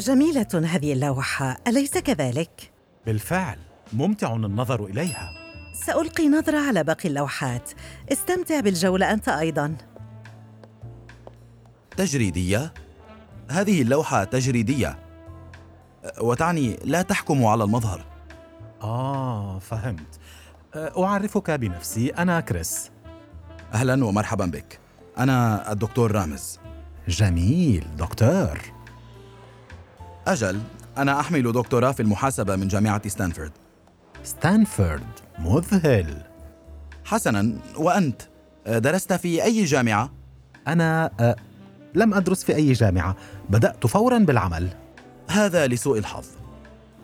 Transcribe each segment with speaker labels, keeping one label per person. Speaker 1: جميلة هذه اللوحة، أليس كذلك؟
Speaker 2: بالفعل ممتع النظر اليها
Speaker 1: سألقي نظرة على باقي اللوحات، استمتع بالجولة أنت أيضاً.
Speaker 3: تجريدية هذه اللوحة تجريدية أه، وتعني لا تحكم على المظهر
Speaker 2: اه فهمت أه، اعرفك بنفسي انا كريس
Speaker 3: أهلا ومرحبا بك أنا الدكتور رامز
Speaker 2: جميل دكتور
Speaker 3: أجل أنا أحمل دكتوراه في المحاسبة من جامعة ستانفورد
Speaker 2: ستانفورد مذهل
Speaker 3: حسنا وأنت أه، درست في أي جامعة؟
Speaker 2: انا أه، لم ادرس في اي جامعه بدات فورا بالعمل
Speaker 3: هذا لسوء الحظ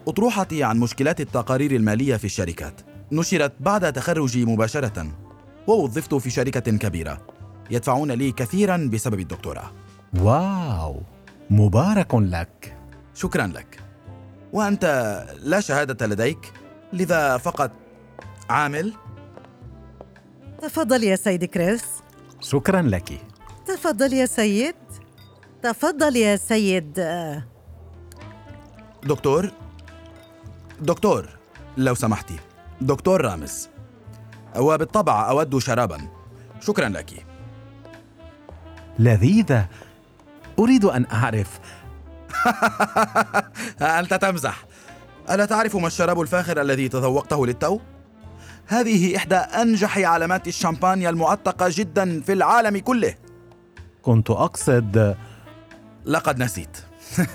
Speaker 3: أطروحتي عن مشكلات التقارير المالية في الشركات نشرت بعد تخرجي مباشرة ووظفت في شركة كبيرة يدفعون لي كثيرا بسبب الدكتوراه
Speaker 2: واو مبارك لك
Speaker 3: شكرا لك وأنت لا شهادة لديك لذا فقط عامل
Speaker 1: تفضل يا سيد كريس،
Speaker 2: شكرا لك
Speaker 1: تفضل يا سيد، تفضل يا سيد آه،
Speaker 3: دكتور دكتور لو سمحتي دكتور رامز وبالطبع أود شرابا شكرا لك
Speaker 2: لذيذه اريد ان اعرف
Speaker 3: أنت تمزح ألا تعرف ما الشراب الفاخر الذي تذوقته للتو؟ هذه إحدى أنجح علامات الشمبانيا المعتقة جدا في العالم كله
Speaker 2: كنت اقصد
Speaker 3: لقد نسيت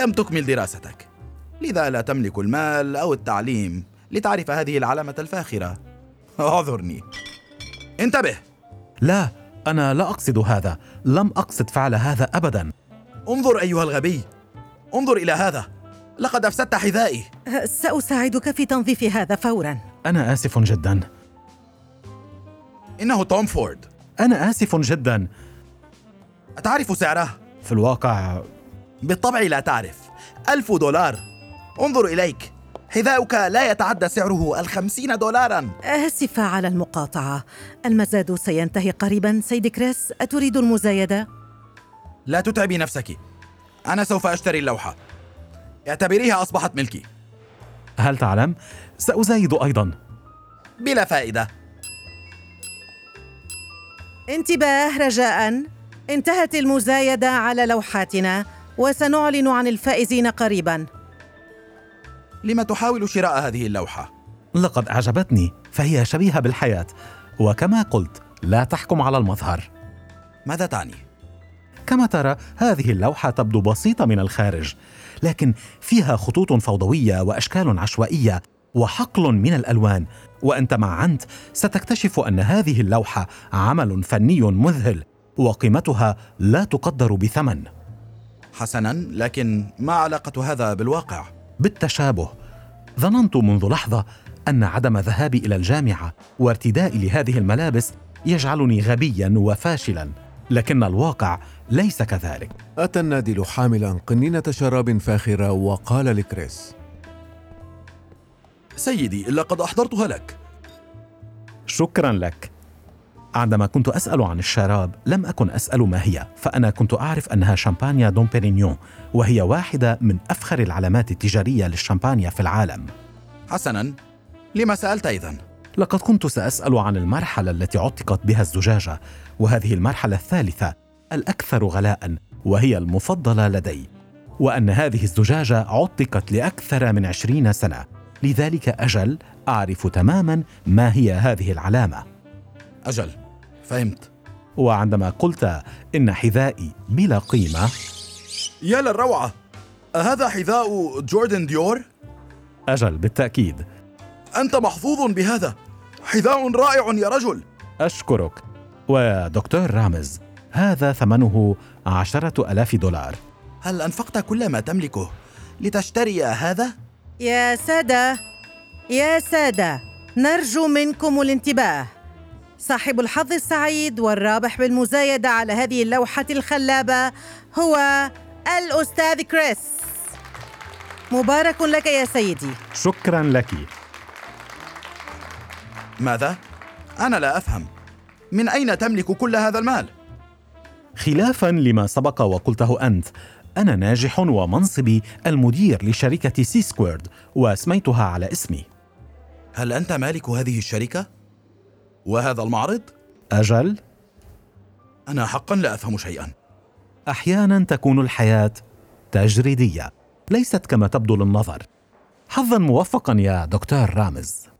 Speaker 3: لم تكمل دراستك لذا لا تملك المال أو التعليم لتعرف هذه العلامة الفاخرة اعذرني انتبه
Speaker 2: لا انا لا اقصد هذا لم اقصد فعل هذا ابدا
Speaker 3: انظر أيها الغبي انظر إلى هذا لقد أفسدت حذائي
Speaker 1: آه، سأساعدك في تنظيف هذا فوراً.
Speaker 2: انا اسف جدا
Speaker 3: إنه توم فورد
Speaker 2: انا اسف جدا
Speaker 3: أتعرف سعره؟
Speaker 2: في الواقع
Speaker 3: بالطبع لا تعرف ألف دولار انظر إليك حذاؤك لا يتعدى سعره الخمسين دولاراً
Speaker 1: آسفة على المقاطعة، المزاد سينتهي قريباً سيد كريس، أتريد المزايدة؟
Speaker 3: لا تتعبي نفسك أنا سوف أشتري اللوحة اعتبريها أصبحت ملكي
Speaker 2: هل تعلم سازايد ايضا
Speaker 3: بلا فائدة
Speaker 1: انتباه رجاء انتهت المزايدة على لوحاتنا وسنعلن عن الفائزين قريبا
Speaker 3: لم تحاول شراء هذه اللوحة؟
Speaker 2: لقد أعجبتني فهي شبيهة بالحياة وكما قلت لا تحكم على المظهر
Speaker 3: ماذا تعني؟
Speaker 2: كما ترى هذه اللوحة تبدو بسيطة من الخارج لكن فيها خطوط فوضوية وأشكال عشوائية وحقل من الألوان وأنت مع أنت ستكتشف أن هذه اللوحة عمل فني مذهل وقيمتها لا تقدر بثمن
Speaker 3: حسنا لكن ما علاقة هذا بالواقع؟
Speaker 2: بالتشابه ظننت منذ لحظه ان عدم ذهابي الى الجامعه وارتدائي لهذه الملابس يجعلني غبيا وفاشلا لكن الواقع ليس كذلك
Speaker 4: أتى النادل حاملا قنينة شراب فاخرة وقال لكريس
Speaker 3: سيدي لقد أحضرتها لك
Speaker 2: شكرا لك عندما كنت اسال عن الشراب لم اكن اسال ما هي فانا كنت اعرف انها شامبانيا دون بيرينيون وهي واحده من افخر العلامات التجاريه للشامبانيا في العالم
Speaker 3: حسنا لما سألت إذا؟
Speaker 2: لقد كنت ساسال عن المرحله التي عتقت بها الزجاجه وهذه المرحله الثالثه الاكثر غلاء وهي المفضله لدي وان هذه الزجاجه عتقت لاكثر من عشرين سنه لذلك اجل اعرف تماما ما هي هذه العلامه
Speaker 3: أجل فهمت
Speaker 2: وعندما قلت ان حذائي بلا قيمه
Speaker 3: يا للروعة هذا حذاء جوردن ديور؟
Speaker 2: اجل بالتاكيد
Speaker 3: أنت محظوظ بهذا حذاء رائع يا رجل
Speaker 2: اشكرك ودكتور رامز هذا ثمنه عشرة ألاف دولار
Speaker 3: هل أنفقت كل ما تملكه لتشتري هذا؟
Speaker 1: يا سادة يا سادة نرجو منكم الانتباه صاحب الحظ السعيد والرابح بالمزايدة على هذه اللوحة الخلابة هو الأستاذ كريس مبارك لك يا سيدي
Speaker 2: شكرا لك
Speaker 3: ماذا؟ أنا لا أفهم من أين تملك كل هذا المال؟
Speaker 2: خلافا لما سبق وقلته أنت أنا ناجح ومنصبي المدير لشركة سي سكويرد واسميتها على اسمي
Speaker 3: هل أنت مالك هذه الشركة؟ وهذا المعرض؟
Speaker 2: أجل
Speaker 3: أنا حقا لا أفهم شيئا
Speaker 2: أحيانا تكون الحياة تجريدية ليست كما تبدو للنظر حظا موفقا يا دكتور رامز